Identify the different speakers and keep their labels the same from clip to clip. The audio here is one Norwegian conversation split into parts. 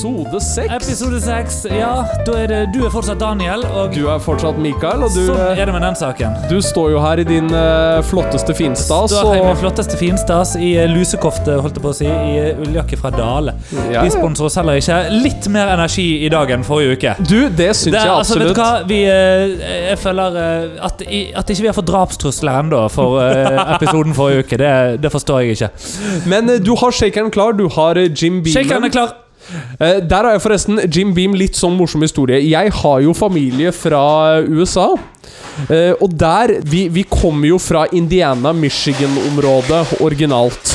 Speaker 1: Oh
Speaker 2: episode seks.
Speaker 1: Episode seks. Ja, da er det Du er fortsatt Daniel, og
Speaker 2: Du er fortsatt Mikael, og du, eh,
Speaker 1: sånn er det med den saken.
Speaker 2: du står jo her i din eh, flotteste finstas.
Speaker 1: Står her med
Speaker 2: Og,
Speaker 1: flotteste finstas i eh, lusekofte, holdt jeg på å si, i eh, ulljakke fra Dale.
Speaker 2: Ja, ja.
Speaker 1: Vi sponser oss heller ikke. Litt mer energi i dag enn forrige uke.
Speaker 2: du, det syns
Speaker 1: Det
Speaker 2: jeg
Speaker 1: er, altså, vet du
Speaker 2: absolutt.
Speaker 1: hva? Vi, eh, jeg føler eh, at, i, at ikke vi har fått drapstrusler ennå for eh, episoden forrige uke. Det, det forstår jeg ikke.
Speaker 2: Men eh, du har shakeren klar. Du har eh, Jim Beam.
Speaker 1: Shakeren er klar.
Speaker 2: Eh, Der har jeg forresten Jim Beam litt sånn morsom historie. Jeg har jo familie fra USA. Eh, Og der Vi, vi kommer jo fra Indiana-Michigan-området originalt.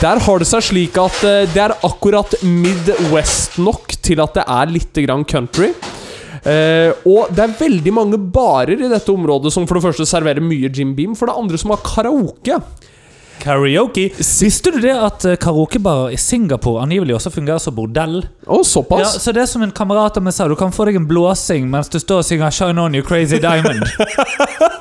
Speaker 2: Der har det seg slik at eh, det er akkurat Midwest nok til at det er litt grann country. Eh, og det er veldig mange barer i dette området som for det første serverer mye Jim Beam, for det andre som har karaoke.
Speaker 1: Karaoke. Visste du det at eh, karaokebarer i Singapore angivelig også fungerer som bordell?
Speaker 2: Og
Speaker 1: Ja,
Speaker 2: såpass.
Speaker 1: så det er som en kamerat av meg sa, du kan få deg en blåsing mens du står og synger 'Shine On You Crazy Diamond'.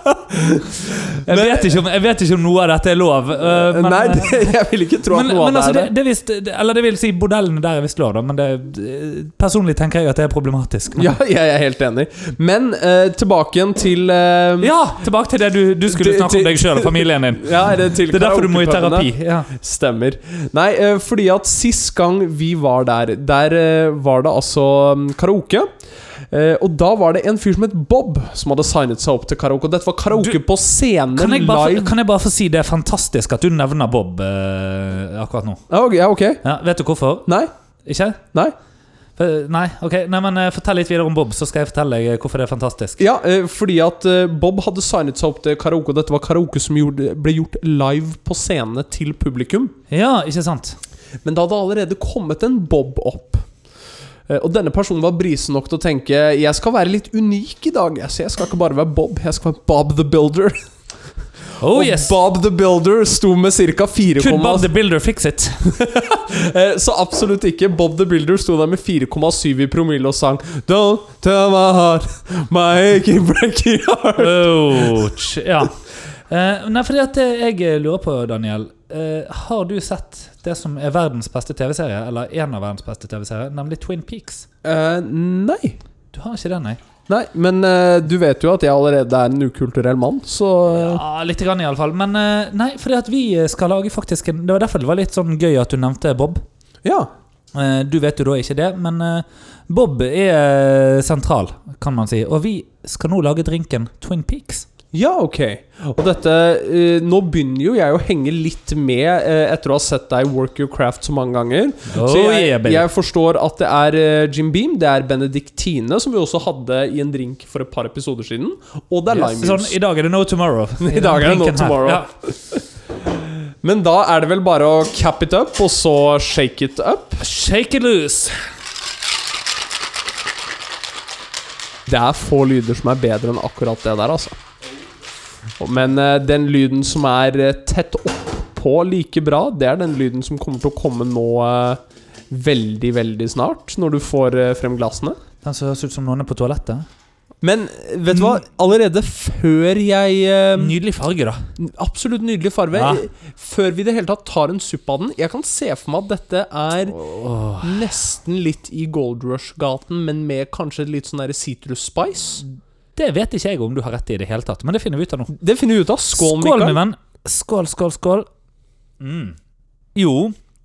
Speaker 1: jeg, vet ikke om, jeg vet ikke om noe av dette er lov. øh, men,
Speaker 2: Eh, Nei, det, jeg vil ikke tro at
Speaker 1: men,
Speaker 2: noe
Speaker 1: men
Speaker 2: av
Speaker 1: altså,
Speaker 2: det er det.
Speaker 1: det, det er visst, det- eller det vil si bordellene der er visst lov, da, men det, eh, personlig tenker jeg at det er problematisk. Men-
Speaker 2: Ja, jeg er helt enig. Men eh, tilbake igjen til eh,
Speaker 1: Ja, tilbake til det du, du skulle
Speaker 2: Det-
Speaker 1: snakke om
Speaker 2: det-
Speaker 1: deg sjøl og familien din.
Speaker 2: ja, er det, til
Speaker 1: Det er derfor du må i
Speaker 2: karaokepubene?
Speaker 1: terapi. Ja.
Speaker 2: Stemmer. Nei, eh, fordi at sist gang vi var der, der eh, var det altså mm, karaoke. Eh, og da var det en fyr som het Bob, som hadde signet seg opp til karaoke. Og dette var karaoke
Speaker 1: Du-
Speaker 2: på scenen
Speaker 1: Kan, jeg bare, få-
Speaker 2: live.
Speaker 1: kan jeg bare få si det er fantastisk at du nevner Bob eh, akkurat nå?
Speaker 2: Ja, ok- ja, ok.
Speaker 1: Ja, vet du hvorfor?
Speaker 2: Nei?
Speaker 1: Ikke?
Speaker 2: Nei?
Speaker 1: For- Nei, ok. Nei, men eh, Fortell litt videre om Bob, så skal jeg fortelle deg eh, hvorfor det er fantastisk.
Speaker 2: Ja, eh, fordi at eh, Bob hadde signet seg opp til karaoke, og dette var karaoke som gjorde, ble gjort live på scenene til publikum.
Speaker 1: Ja, ikke sant?
Speaker 2: Men det hadde allerede kommet en Bob opp. Eh, Og denne personen var brisen nok til å tenke Jeg skal være litt unik i dag. jeg, Så jeg skal ikke bare være Bob, jeg skal være Bob the Builder.
Speaker 1: Oh
Speaker 2: og
Speaker 1: yes!
Speaker 2: Bob the Builder sto med ca.
Speaker 1: Could Bob
Speaker 2: 4,7
Speaker 1: the Builder fix it?
Speaker 2: Eh, Så absolutt ikke. Bob the Builder sto der med 4,7 i promille og sang Don't tell my heart, my achy breaky heart.
Speaker 1: Ouch. Ja. Eh, nei, fordi at det jeg eh, lurer på, Daniel eh, Har du sett det som er verdens beste TV-serie? Eller en av verdens beste TV-serier, nemlig Twin Peaks?
Speaker 2: Eh, nei.
Speaker 1: Du har ikke den, nei?
Speaker 2: Nei, men eh, du vet jo at jeg allerede er en ukulturell mann, så
Speaker 1: Ja, Lite grann, iallfall. Men eh, nei, fordi at vi eh, skal lage faktisk en Det var derfor det var litt sånn gøy at du nevnte Bob.
Speaker 2: Ja.
Speaker 1: Eh, Du vet jo da ikke det, men eh, Bob er eh, sentral, kan man si. Og vi skal nå lage drinken Twin Peaks.
Speaker 2: Ja, ok. Og dette eh, Nå begynner jo jeg å henge litt med eh, etter å ha sett deg work your craft så mange ganger. så
Speaker 1: Oh,
Speaker 2: jeg,
Speaker 1: yeah, baby.
Speaker 2: jeg forstår at det er eh, Jim Beam, det er Benediktine, som vi også hadde i en drink for et par episoder siden, og det er
Speaker 1: Yes.
Speaker 2: lime
Speaker 1: Sånn,
Speaker 2: juice.
Speaker 1: I dag er det no tomorrow.
Speaker 2: I dag er det no
Speaker 1: drinken her.
Speaker 2: tomorrow. Men da er det vel bare å cap it up, og så shake it up.
Speaker 1: Ja. Shake it loose.
Speaker 2: Det er få lyder som er bedre enn akkurat det der, altså. Og- Men eh, den lyden som er eh, tett oppå like bra, det er den lyden som kommer til å komme nå eh, veldig, veldig snart, når du får eh, frem glassene.
Speaker 1: Den som høres ut som noen er på toalettet.
Speaker 2: Men eh, vet
Speaker 1: Mm.
Speaker 2: du hva? Allerede før jeg eh,
Speaker 1: Nydelig farge, da.
Speaker 2: Absolutt nydelig farve.
Speaker 1: Ja.
Speaker 2: Før vi i det hele tatt tar en supp av den Jeg kan se for meg at dette er nesten litt i Gold Rush-gaten, men med kanskje litt sånn der citrus spice.
Speaker 1: Det vet ikke jeg om du har rett i det hele tatt, men det finner vi ut av nå.
Speaker 2: Det finner vi ut av. Skål, Mikael.
Speaker 1: min venn. Skål, skål, skål. Mm. Jo.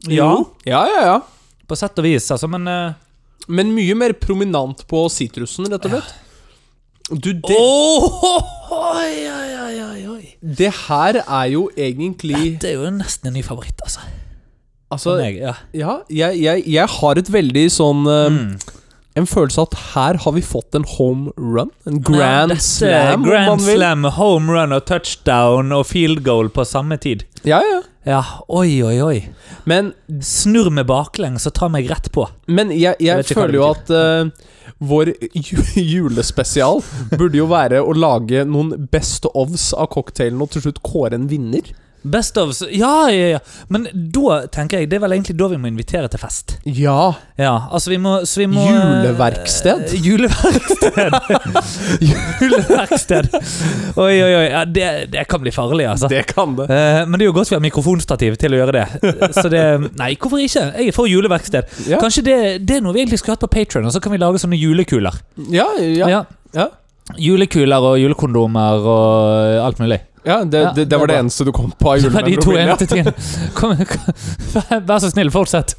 Speaker 1: Ja.
Speaker 2: Jo. ja, ja, ja.
Speaker 1: På sett og vis, altså, men eh,
Speaker 2: Men mye mer prominent på sitrusen, rett og slett. Du, det,
Speaker 1: Åh, Oi, oi, oi, oi, oi.
Speaker 2: det her er jo egentlig
Speaker 1: Det er jo nesten en ny favoritt, altså.
Speaker 2: Altså,
Speaker 1: For meg, ja.
Speaker 2: ja, jeg, jeg, jeg har et veldig sånn eh,
Speaker 1: Mm.
Speaker 2: En følelse at her har vi fått en home run. En
Speaker 1: Nei,
Speaker 2: grand
Speaker 1: dette er
Speaker 2: slam, om
Speaker 1: Grand
Speaker 2: man vil.
Speaker 1: slam, home run og touchdown og field goal på samme tid.
Speaker 2: Ja, ja.
Speaker 1: Ja, oi, oi, oi.
Speaker 2: Men,
Speaker 1: Snurr meg baklengs og ta meg rett på.
Speaker 2: men jeg, jeg,
Speaker 1: Jeg vet ikke hva det
Speaker 2: føler jo at eh, vår ju julespesial burde jo være å lage noen best ofs av cocktailen og til slutt kåre en vinner.
Speaker 1: Best of Ja, ja, ja. Men da tenker jeg det er vel egentlig da vi må invitere til fest.
Speaker 2: Ja.
Speaker 1: Ja, altså vi må, så vi må
Speaker 2: Juleverksted?
Speaker 1: Eh, juleverksted. juleverksted. Oi, oi, oi. Ja, det, det kan bli farlig, altså.
Speaker 2: Det kan det.
Speaker 1: Eh, men det er jo godt vi har mikrofonstativ til å gjøre det. Så det Nei, hvorfor ikke? Jeg er for juleverksted.
Speaker 2: Ja,
Speaker 1: Kanskje det, det er noe vi egentlig skulle hatt på Patron, og så kan vi lage sånne julekuler.
Speaker 2: ja. ja. Ja.
Speaker 1: Julekuler og julekondomer og alt mulig.
Speaker 2: ja, det,
Speaker 1: Ja,
Speaker 2: det,
Speaker 1: det
Speaker 2: det
Speaker 1: er
Speaker 2: var det
Speaker 1: bra.
Speaker 2: eneste du kom på av
Speaker 1: Det var de to
Speaker 2: julemelofilia.
Speaker 1: eneste tingene. Kom, kom, vær- vær så snill, fortsett.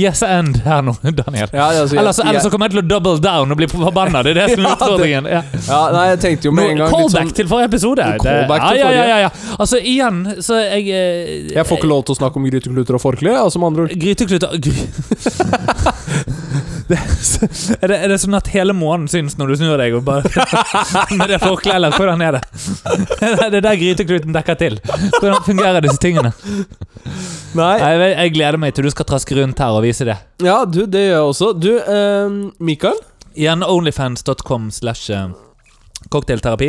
Speaker 1: Yes and her nå, Daniel.
Speaker 2: Ja, altså, jeg-
Speaker 1: Eller så, eller så
Speaker 2: jeg-
Speaker 1: kommer jeg til å double down og bli forbanna. Det er det som er
Speaker 2: Ja, det-
Speaker 1: utfordringen. Ja.
Speaker 2: ja, Nei, jeg tenkte jo med en
Speaker 1: Nå,
Speaker 2: gang litt
Speaker 1: callback
Speaker 2: sånn
Speaker 1: til forrige episode. Det,
Speaker 2: Callback
Speaker 1: ja,
Speaker 2: til
Speaker 1: ja, ja, ja,
Speaker 2: forrige.
Speaker 1: ja. Altså, igjen, så jeg eh,
Speaker 2: Jeg får ikke lov til å snakke om grytekluter og forkle, altså med andre ord.
Speaker 1: Grytekluter gry. det, er, det, er det sånn at hele månen syns når du snur deg og bare Med det forkleet, eller hvordan er det? det er der grytekluten dekker til. Hvordan fungerer disse tingene?
Speaker 2: Nei.
Speaker 1: Jeg, jeg gleder meg til du skal traske rundt her og vise det.
Speaker 2: Ja, du, det gjør jeg også. Du, eh, Mikael?
Speaker 1: Igjen onlyfans.com slash eh, cocktailterapi.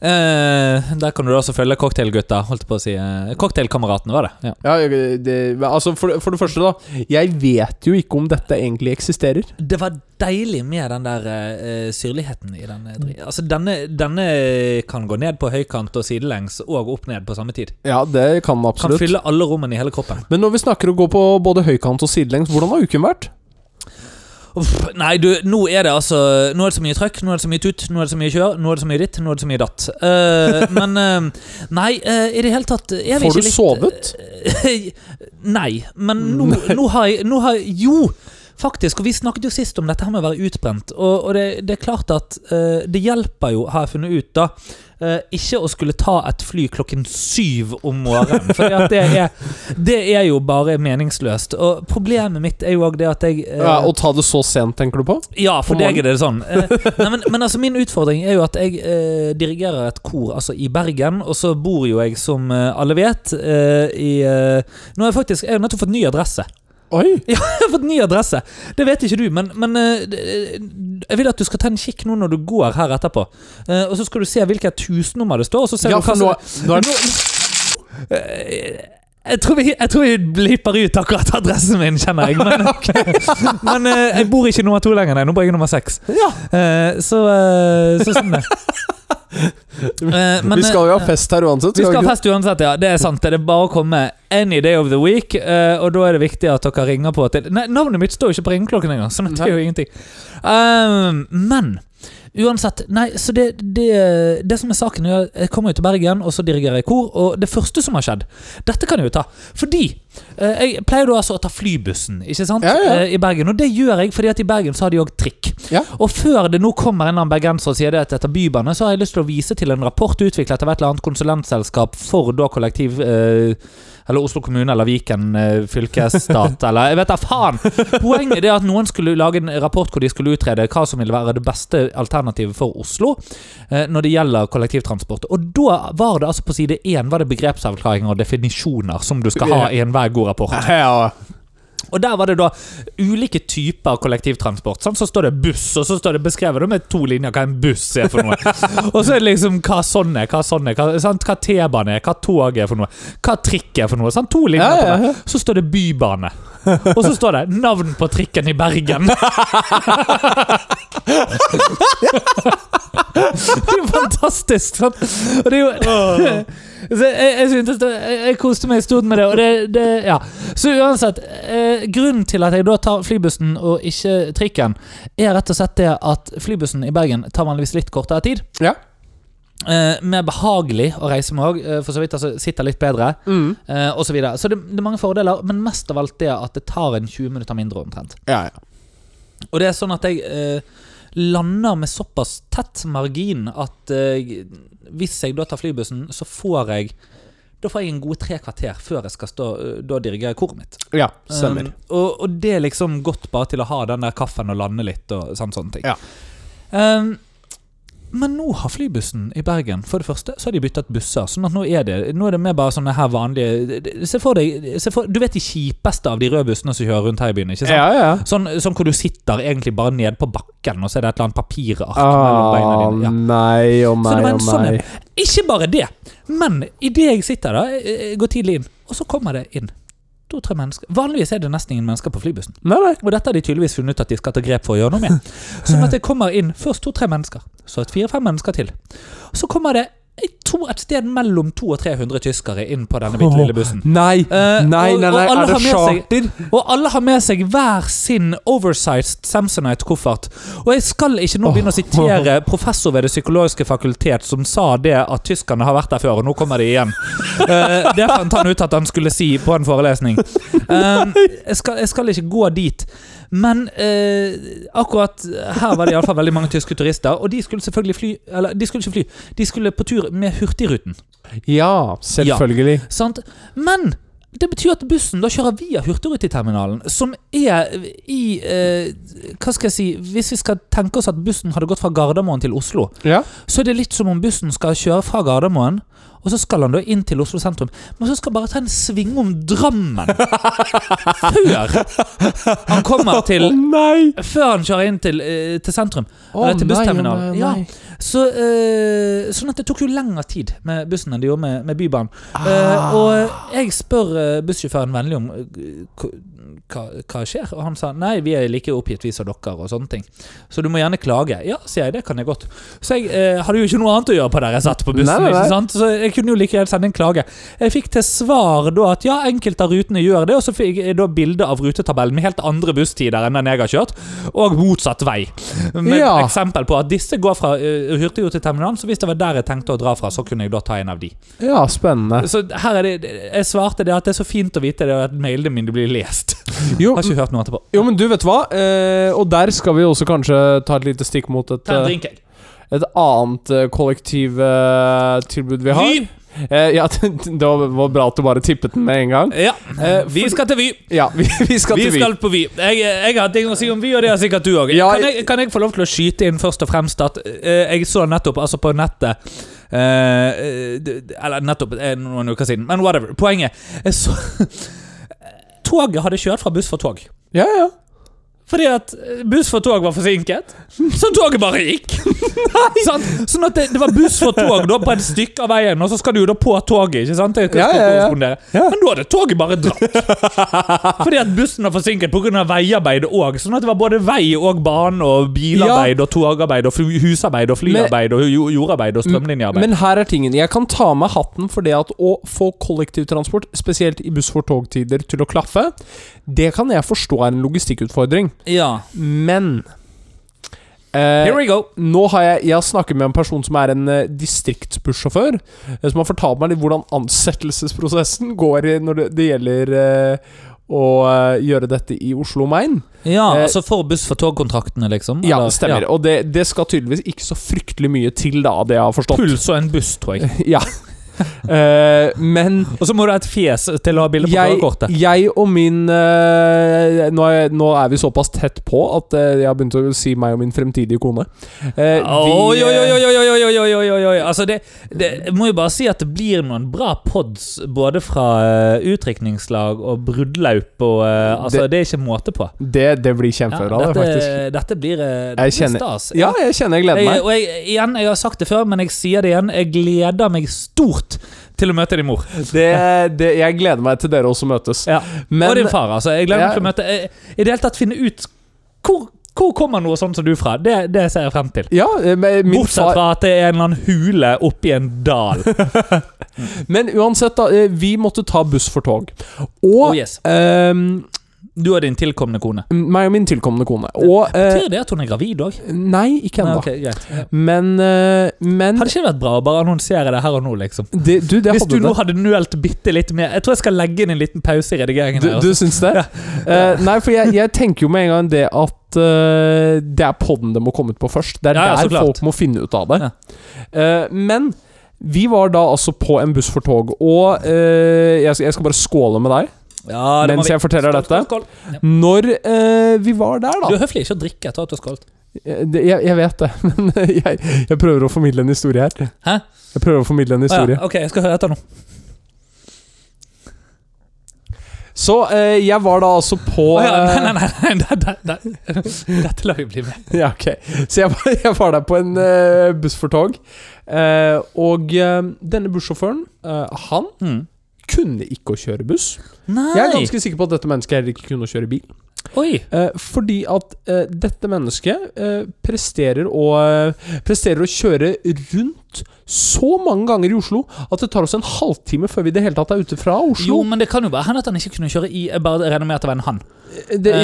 Speaker 1: Eh, der kan du da også følge cocktailgutta. Holdt jeg på å si. eh, Cocktailkameratene, var det. Ja.
Speaker 2: Ja, jeg- det, altså for, det- for det første, da. Jeg vet jo ikke om dette egentlig eksisterer.
Speaker 1: Det var deilig med den der eh, syrligheten i den. eh,
Speaker 2: Mm.
Speaker 1: dri- Altså, denne, denne kan gå ned på høykant og sidelengs og opp ned på samme tid.
Speaker 2: Ja, det kan det
Speaker 1: Kan
Speaker 2: absolutt.
Speaker 1: fylle alle rommene i hele kroppen.
Speaker 2: Men når vi snakker om å gå på både høykant og sidelengs, hvordan har uken vært?
Speaker 1: Uff, nei, du, nå er det altså Nå er det så mye trøkk, nå er det så mye tut, nå er det så mye kjør, nå er det så mye ditt, nå er det så mye datt. Eh, men eh, Nei, eh, i det hele tatt er vi
Speaker 2: Får
Speaker 1: ikke
Speaker 2: du
Speaker 1: litt-
Speaker 2: sovet?
Speaker 1: nei, men nå, nå, har jeg, nå har jeg Jo! Faktisk, og Vi snakket jo sist om dette her med å være utbrent. Og, og det, det er klart at eh, det hjelper jo, har jeg funnet ut, da. eh, ikke å skulle ta et fly klokken syv om morgenen. For det, er- det er jo bare meningsløst. Og problemet mitt er jo òg det at jeg eh,
Speaker 2: Ja, Å ta det så sent, tenker du på?
Speaker 1: ja, for
Speaker 2: På
Speaker 1: deg er det sånn. Eh, nei, men, men altså, min utfordring er jo at jeg eh, dirigerer et kor altså, i Bergen, og så bor jo jeg, som eh, alle vet, eh, i eh, Nå har jeg faktisk jeg har nettopp fått ny adresse.
Speaker 2: Oi!
Speaker 1: Jeg har fått ny adresse! Det vet ikke du, men, men eh, d- eh, jeg vil at du skal ta en kikk nå når du går her etterpå. Eh, og så skal du se hvilket husnummer det står, og så ser
Speaker 2: Ja,
Speaker 1: du hva
Speaker 2: for
Speaker 1: som
Speaker 2: nå, nå er det
Speaker 1: Eh, jeg tror, vi, jeg tror vi blipper ut akkurat adressen min, kjenner jeg. Men, men eh, jeg bor ikke nummer to lenger, nei. Nå bor jeg nummer seks.
Speaker 2: Ja!
Speaker 1: Eh, så, eh, så sånn det. Eh, men,
Speaker 2: vi skal jo ha fest her uansett.
Speaker 1: vi skal
Speaker 2: vi
Speaker 1: ha
Speaker 2: ikke
Speaker 1: fest uansett, ja. Det er sant. Det er bare å komme any day of the week. eh, og da er det viktig at dere ringer på til Nei, navnet mitt står jo ikke på ringeklokken engang, så det er jo ingenting. Ehm, men uansett Nei, så det, det, det som er saken, er at jeg kommer jo til Bergen, og så dirigerer jeg kor, og det første som har skjedd Dette kan jeg jo ta. Fordi eh, jeg pleier da altså å ta flybussen, ikke sant,
Speaker 2: Ja, ja.
Speaker 1: Eh, i Bergen. Og det gjør jeg, fordi at i Bergen så har de òg trikk.
Speaker 2: Ja.
Speaker 1: Og før det nå kommer en eller annen bergenser og sier det at dette er bybane, så har jeg lyst til å vise til en rapport utviklet av et eller annet konsulentselskap for da kollektiv... eh, eller Oslo kommune eller Viken eh, fylkesstat eller Jeg vet da faen! Poenget er at noen skulle lage en rapport hvor de skulle utrede hva som ville være det beste alternativet for Oslo eh, når det gjelder kollektivtransport. Og da var det altså på side én var det begrepsavklaringer og definisjoner som du skal ha i enhver god rapport.
Speaker 2: Ja.
Speaker 1: Og der var det da ulike typer kollektivtransport. Sant? Så står det buss, og så står det beskrevet da med to linjer hva en buss er for noe. og så er det liksom hva sånn er, hva sånn er, hva, sant? hva T-bane er, hva tog er for noe, hva trikk er for noe. Sant? To linjer
Speaker 2: Ja, ja,
Speaker 1: på det. Så står det bybane. Og så står det 'navn på trikken i Bergen'. det er jo fantastisk! Sant? Og det er jo så jeg, jeg, syntes det, jeg, jeg koste meg stort med det. Og det, det ja. Så uansett, eh, grunnen til at jeg da tar flybussen og ikke trikken, er rett og slett det at flybussen i Bergen tar vanligvis litt kortere tid.
Speaker 2: Ja.
Speaker 1: Eh, mer behagelig å reise med òg, eh, for så vidt. Altså sitter litt bedre,
Speaker 2: Mm.
Speaker 1: eh, osv. Så, videre. så det, det er mange fordeler, men mest av alt det at det tar en 20 minutter mindre, omtrent.
Speaker 2: ja, ja.
Speaker 1: Og det er sånn at jeg eh, lander med såpass tett margin at eh, hvis jeg da tar flybussen, så får jeg da får jeg en god tre kvarter før jeg skal stå, eh, da dirigere koret mitt.
Speaker 2: Ja, stemmer.
Speaker 1: Um, og, og det er liksom godt bare til å ha den der kaffen og lande litt og sånn, sånne ting.
Speaker 2: Ja.
Speaker 1: Um, Men nå har flybussen i Bergen For det første så har de byttet busser. Sånn at nå er det Nå er det mer bare sånne her vanlige Se for deg se for, Du vet de kjipeste av de røde bussene som kjører rundt her i byen? ikke sant?
Speaker 2: Ja, ja.
Speaker 1: Sånn, sånn hvor du sitter egentlig bare ned på bakken, og så er det et eller annet papirark mellom beina
Speaker 2: Ah, oh
Speaker 1: dine. Ja.
Speaker 2: nei og
Speaker 1: Så
Speaker 2: nei
Speaker 1: det var
Speaker 2: og
Speaker 1: en sånn
Speaker 2: nei.
Speaker 1: en. Ikke bare det, men idet jeg sitter da, jeg- jeg går tidlig inn, og så kommer det inn to-tre mennesker. Vanligvis er det nesten ingen mennesker på flybussen.
Speaker 2: Nei, nei.
Speaker 1: Og dette har de tydeligvis funnet ut at de skal ta grep for å gjøre noe med. Sånn at det kommer inn først to-tre mennesker, så et fire-fem mennesker til. Så kommer det jeg tror et sted mellom 200 og 300 tyskere inn på denne bitte lille bussen.
Speaker 2: Nei,
Speaker 1: Eh,
Speaker 2: nei,
Speaker 1: og-
Speaker 2: nei, nei.
Speaker 1: og alle
Speaker 2: er det
Speaker 1: har med
Speaker 2: charter?
Speaker 1: Og alle har med seg hver sin oversized Samsonite-koffert. Og jeg skal ikke nå begynne å sitere professor ved Det psykologiske fakultet som sa det at tyskerne har vært der før, og nå kommer de igjen. Eh, det fant han ut at han skulle si på en forelesning. Eh, jeg, skal, jeg skal ikke gå dit. Men eh, akkurat her var det i alle fall veldig mange tyske turister, og de skulle selvfølgelig fly Eller, de skulle ikke fly, de skulle på tur med Hurtigruten.
Speaker 2: Ja, selvfølgelig.
Speaker 1: Sant? Men det betyr at bussen da kjører via Hurtigruteterminalen, som er i eh, Hva skal jeg si Hvis vi skal tenke oss at bussen hadde gått fra Gardermoen til Oslo,
Speaker 2: Ja.
Speaker 1: så er det litt som om bussen skal kjøre fra Gardermoen, og så skal han da inn til Oslo sentrum, men så skal han bare ta en sving om Drammen før han kommer
Speaker 2: Å
Speaker 1: til
Speaker 2: nei!
Speaker 1: før han kjører inn til, eh, til sentrum.
Speaker 2: Å,
Speaker 1: Eller til
Speaker 2: nei, å,
Speaker 1: bussterminalen.
Speaker 2: nei, å, nei.
Speaker 1: Så, eh, sånn at det tok jo lengre tid med bussen enn det gjorde med, med Bybanen. Eh,
Speaker 2: Ah.
Speaker 1: og jeg spør eh, bussjåføren vennlig om eh, hva, hva- hva skjer, og han sa nei, vi er like oppgitt vi som dere, og sånne ting. Så du må gjerne klage. Ja, sier jeg, det kan jeg godt. Så jeg eh, hadde jo ikke noe annet å gjøre på der jeg satt på bussen,
Speaker 2: Nei, nei, nei.
Speaker 1: ikke sant? så jeg kunne jo like gjerne sende en klage. Jeg fikk til svar da at ja, enkelte av rutene gjør det, og så fikk jeg da bilde av rutetabellen med helt andre busstider enn den jeg har kjørt, og motsatt vei. Med
Speaker 2: Ja.
Speaker 1: eksempel på at disse går fra uh, hurtigruteterminalen, så hvis det var der jeg tenkte å dra fra, så kunne jeg da ta en av de.
Speaker 2: Ja, spennende.
Speaker 1: Så her er det, jeg svarte det at det er så fint å vite det, og at mailene mine blir lest.
Speaker 2: Jo,
Speaker 1: Har ikke hørt noe etterpå.
Speaker 2: jo, men du vet hva? Eh, og der skal vi også kanskje ta et lite stikk mot et,
Speaker 1: Ta en
Speaker 2: eh,
Speaker 1: drink, jeg.
Speaker 2: et annet eh, kollektivtilbud vi har.
Speaker 1: Vy!
Speaker 2: Eh, ja, det var var bra at du bare tippet den med en gang.
Speaker 1: Ja,
Speaker 2: Eh,
Speaker 1: vi skal til Vy.
Speaker 2: Ja, vi, vi skal
Speaker 1: Vi
Speaker 2: til Vy.
Speaker 1: skal på Vy. Jeg, jeg har ting å si om Vy, og det har sikkert du òg.
Speaker 2: Ja,
Speaker 1: kan, jeg- kan jeg få lov til å skyte inn først og fremst at eh, jeg så nettopp, altså på nettet eh, eh, d- d- Eller nettopp, eh, noen uker siden, men whatever. Poenget jeg så, Toget hadde kjørt fra buss for tog.
Speaker 2: Ja, ja.
Speaker 1: Fordi at eh, buss for tog var forsinket, så toget bare gikk. Sant? Sånn at det, det var buss for tog da på et stykke av veien, og så skal du jo da på toget. ikke sant? Det skal
Speaker 2: Ja, ja, ja.
Speaker 1: korrespondere.
Speaker 2: Ja.
Speaker 1: Men da hadde toget bare dratt. Fordi at bussen var forsinket pga. veiarbeid òg. Sånn at det var både vei og bane og bilarbeid og togarbeid og fu- husarbeid og flyarbeid og jo- jordarbeid og strømlinjearbeid.
Speaker 2: Men her er tingen. Jeg kan ta med hatten for det at å få kollektivtransport, spesielt i buss for togtider, til å klaffe, det kan jeg forstå er en logistikkutfordring.
Speaker 1: Ja.
Speaker 2: Men eh,
Speaker 1: Here we go.
Speaker 2: nå har jeg, jeg har snakket med en person som er en eh, distriktsbussjåfør, eh, som har fortalt meg litt hvordan ansettelsesprosessen går i når det, det gjelder eh, å eh, gjøre dette i Oslo og Main.
Speaker 1: Ja,
Speaker 2: Eh,
Speaker 1: altså for buss for tog-kontraktene, liksom?
Speaker 2: Ja,
Speaker 1: eller-
Speaker 2: det stemmer. Og det, det skal tydeligvis ikke så fryktelig mye til, da, det jeg har forstått.
Speaker 1: Puls og en buss, tror jeg.
Speaker 2: Ja. Eh, men
Speaker 1: Og så må du ha et fjes til å ha bilde på
Speaker 2: jeg,
Speaker 1: førerkortet.
Speaker 2: jeg og min eh, nå, er, nå er vi såpass tett på at eh, jeg har begynt å si meg og min fremtidige kone.
Speaker 1: Oi,
Speaker 2: Eh, vi,
Speaker 1: oi, oi,
Speaker 2: eh,
Speaker 1: oi, oi, oi, oi, oi, oi, oi, oi. Altså det, det, jeg må jo bare si at det blir noen bra pods både fra eh, utdrikningslag og bruddlaup og eh, Altså, det, er ikke måte på.
Speaker 2: Det, det blir
Speaker 1: Ja,
Speaker 2: kjempebra, det,
Speaker 1: dette,
Speaker 2: faktisk.
Speaker 1: dette blir, eh,
Speaker 2: Jeg
Speaker 1: dette blir
Speaker 2: kjenner-
Speaker 1: stas.
Speaker 2: Ja, jeg kjenner jeg gleder
Speaker 1: Jeg,
Speaker 2: meg.
Speaker 1: og jeg, igjen, jeg har sagt det før, men jeg sier det igjen. Jeg gleder meg stort til å møte din mor.
Speaker 2: Det, det, jeg gleder meg til dere også møtes.
Speaker 1: Ja.
Speaker 2: Men
Speaker 1: og din far. altså Jeg gleder meg
Speaker 2: Ja.
Speaker 1: til å møte jeg, I det hele tatt finne ut hvor, hvor kommer noe sånt som du fra. Det, det ser jeg frem til.
Speaker 2: ja, eh, men min
Speaker 1: Bortsett
Speaker 2: far,
Speaker 1: fra at det er en eller annen hule oppi en dal.
Speaker 2: men uansett, da. eh, Vi måtte ta buss for tog.
Speaker 1: Oh,
Speaker 2: Og
Speaker 1: yes.
Speaker 2: eh,
Speaker 1: Du og din tilkommende kone.
Speaker 2: meg og min tilkommende kone. Og eh,
Speaker 1: Betyr det at hun er gravid òg?
Speaker 2: Nei, ikke ennå.
Speaker 1: Hadde
Speaker 2: Men, eh, men
Speaker 1: ikke det vært bra å bare annonsere det her og nå, liksom?
Speaker 2: det, Du, det
Speaker 1: Hvis
Speaker 2: hadde
Speaker 1: du nå
Speaker 2: det.
Speaker 1: hadde nølt bitte litt mer Jeg tror jeg skal legge inn en liten pause i redigeringen.
Speaker 2: Du,
Speaker 1: her
Speaker 2: du
Speaker 1: også.
Speaker 2: syns det? Eh, nei, for jeg, jeg tenker jo med en gang det at eh, det er podden det må komme ut på først. Det er
Speaker 1: Ja, ja, så
Speaker 2: der
Speaker 1: klart.
Speaker 2: folk må finne ut av det. Eh, men vi var da altså på en buss for tog, og eh, jeg, skal- jeg skal bare skåle med deg
Speaker 1: Ja, det må
Speaker 2: mens
Speaker 1: vi-
Speaker 2: jeg forteller
Speaker 1: Skål,
Speaker 2: dette.
Speaker 1: skål, skål. Ja.
Speaker 2: Når eh, vi var der,
Speaker 1: Du
Speaker 2: da Eh,
Speaker 1: er høflig ikke å drikke etter at du har skålt.
Speaker 2: Det, jeg, jeg vet det, men jeg, jeg prøver å formidle en historie her.
Speaker 1: Hæ?
Speaker 2: Jeg prøver å formidle en historie.
Speaker 1: Å ja, ok, jeg skal høre etter nå.
Speaker 2: Så eh, jeg var da altså på
Speaker 1: Å ja, nei, nei, nei, nei, nei, nei, nei. Dette lar vi bli med.
Speaker 2: Ja, ok. Så jeg var, jeg var der på en eh, buss for tog. Eh, og eh, denne bussjåføren, eh, han kunne ikke å kjøre buss.
Speaker 1: Nei!
Speaker 2: Jeg er ganske sikker på at dette mennesket heller ikke kunne å kjøre bil.
Speaker 1: Oi!
Speaker 2: Eh, fordi at eh, dette mennesket eh, presterer, å, eh, presterer å kjøre rundt så mange ganger i Oslo at det tar oss en halvtime før vi i det hele tatt er ute fra
Speaker 1: Jo,
Speaker 2: Oslo.
Speaker 1: men det kan jo være han at han ikke kunne kjøre i Jeg bare regner med at det var en han.
Speaker 2: Eh, det,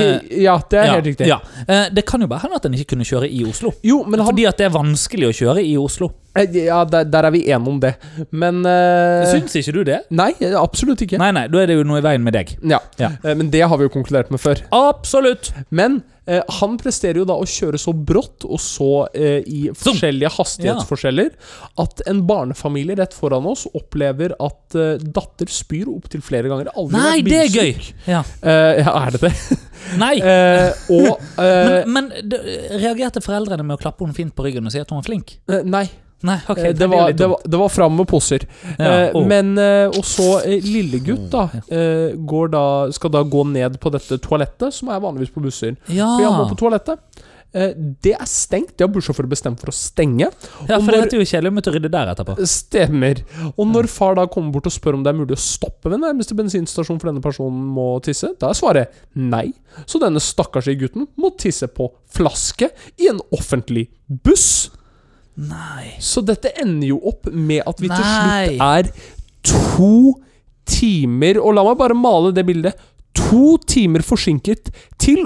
Speaker 2: ja, det er helt riktig.
Speaker 1: Ja. Eh, Det kan jo være han at han ikke kunne kjøre i Oslo.
Speaker 2: Jo, men han
Speaker 1: Fordi at det er vanskelig å kjøre i Oslo.
Speaker 2: eh, Ja, der, der er vi enige om det. Men eh,
Speaker 1: Syns ikke du det?
Speaker 2: Nei, absolutt ikke.
Speaker 1: Nei, nei, da er det jo noe i veien med deg.
Speaker 2: Ja.
Speaker 1: Ja.
Speaker 2: Eh, Men det har vi jo konkludert med før.
Speaker 1: Absolutt!
Speaker 2: Men eh, han presterer jo da å kjøre så brått og så eh, i
Speaker 1: Zoom.
Speaker 2: forskjellige hastighetsforskjeller at en barnefamilie rett foran oss opplever at eh, datter spyr opptil flere ganger. Aldri
Speaker 1: Nei,
Speaker 2: vært
Speaker 1: det er gøy!
Speaker 2: bilsyk.
Speaker 1: Ja.
Speaker 2: Eh, ja, er det det?
Speaker 1: Nei!
Speaker 2: Eh, og eh,
Speaker 1: Men, men d- reagerte foreldrene med å klappe henne fint på ryggen og si at hun var flink?
Speaker 2: eh, Nei.
Speaker 1: Nei, ok,
Speaker 2: eh, det,
Speaker 1: blir
Speaker 2: var,
Speaker 1: litt
Speaker 2: det,
Speaker 1: dumt.
Speaker 2: var, det var fram med poser.
Speaker 1: Ja,
Speaker 2: Eh,
Speaker 1: å.
Speaker 2: Men eh, Og så eh, lillegutt, da, eh, går da. Skal da gå ned på dette toalettet, som er vanligvis på busser.
Speaker 1: ja.
Speaker 2: For jeg må på toalettet. Eh, Det er stengt. Det har bussjåfører bestemt for å stenge.
Speaker 1: ja,
Speaker 2: og
Speaker 1: for det
Speaker 2: når-
Speaker 1: er jo kjedelig å måtte rydde der etterpå.
Speaker 2: Stemmer. Og når far da kommer bort og spør om det er mulig å stoppe ved nærmeste bensinstasjon for denne personen må tisse, da er svaret nei. Så denne stakkars gutten må tisse på flaske i en offentlig buss.
Speaker 1: Nei.
Speaker 2: Så dette ender jo opp med at vi til
Speaker 1: Nei.
Speaker 2: slutt er to timer Og la meg bare male det bildet. To timer forsinket til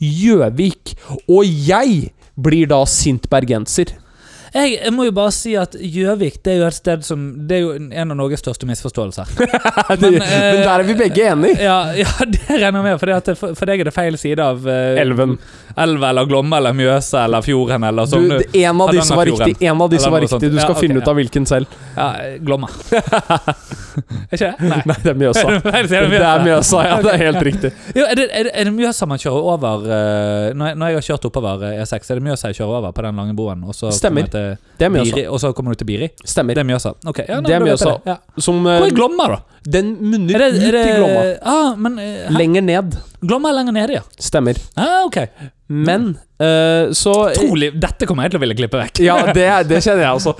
Speaker 2: Oslo-Gjøvik. Og jeg blir da sint bergenser.
Speaker 1: Jeg, jeg må jo bare si at Gjøvik det er jo et sted som Det er jo en av Norges største misforståelser.
Speaker 2: Men,
Speaker 1: Men, eh,
Speaker 2: der er vi begge enige.
Speaker 1: Ja, ja det regner jeg med, fordi at det- for, for deg er det feil side av eh,
Speaker 2: Elven.
Speaker 1: elva eller Glomme eller Mjøsa eller fjorden eller sånn.
Speaker 2: Du, en av disse var
Speaker 1: Hardangerfjorden.
Speaker 2: riktig. En av disse
Speaker 1: Eller
Speaker 2: var
Speaker 1: noe sånt.
Speaker 2: riktig. Du skal
Speaker 1: Ja, ok,
Speaker 2: finne ut
Speaker 1: ja.
Speaker 2: av hvilken selv.
Speaker 1: Ja, Glomma. er ikke det? Nei.
Speaker 2: Nei, det er Mjøsa.
Speaker 1: Feil
Speaker 2: Det
Speaker 1: side av
Speaker 2: er Mjøsa, ja. Det er helt riktig.
Speaker 1: Jo, er, det, er, det, er det Mjøsa man kjører over eh, når, jeg, når jeg har kjørt oppover eh, E6, er det Mjøsa jeg kjører over på den lange broen? Og så
Speaker 2: Stemmer.
Speaker 1: kommer jeg
Speaker 2: Det er
Speaker 1: til
Speaker 2: Mjøsa.
Speaker 1: Biri, og så kommer du til Biri?
Speaker 2: Stemmer.
Speaker 1: Det er Mjøsa. Ok, ja, nei,
Speaker 2: Det er
Speaker 1: da vet jeg
Speaker 2: Mjøsa.
Speaker 1: det. Ja.
Speaker 2: Som
Speaker 1: Hvor
Speaker 2: eh,
Speaker 1: er Glomma, da?
Speaker 2: Den munner
Speaker 1: Er det, er
Speaker 2: ut
Speaker 1: det,
Speaker 2: i Glomma.
Speaker 1: Ah, men, eh, hæ?
Speaker 2: Lenger ned.
Speaker 1: Glomma er lenger nede, ja.
Speaker 2: Stemmer.
Speaker 1: Ah, ok.
Speaker 2: Men eh, så
Speaker 1: Trolig. Dette kommer jeg til å ville klippe vekk.
Speaker 2: Ja, det, er- det kjenner jeg også.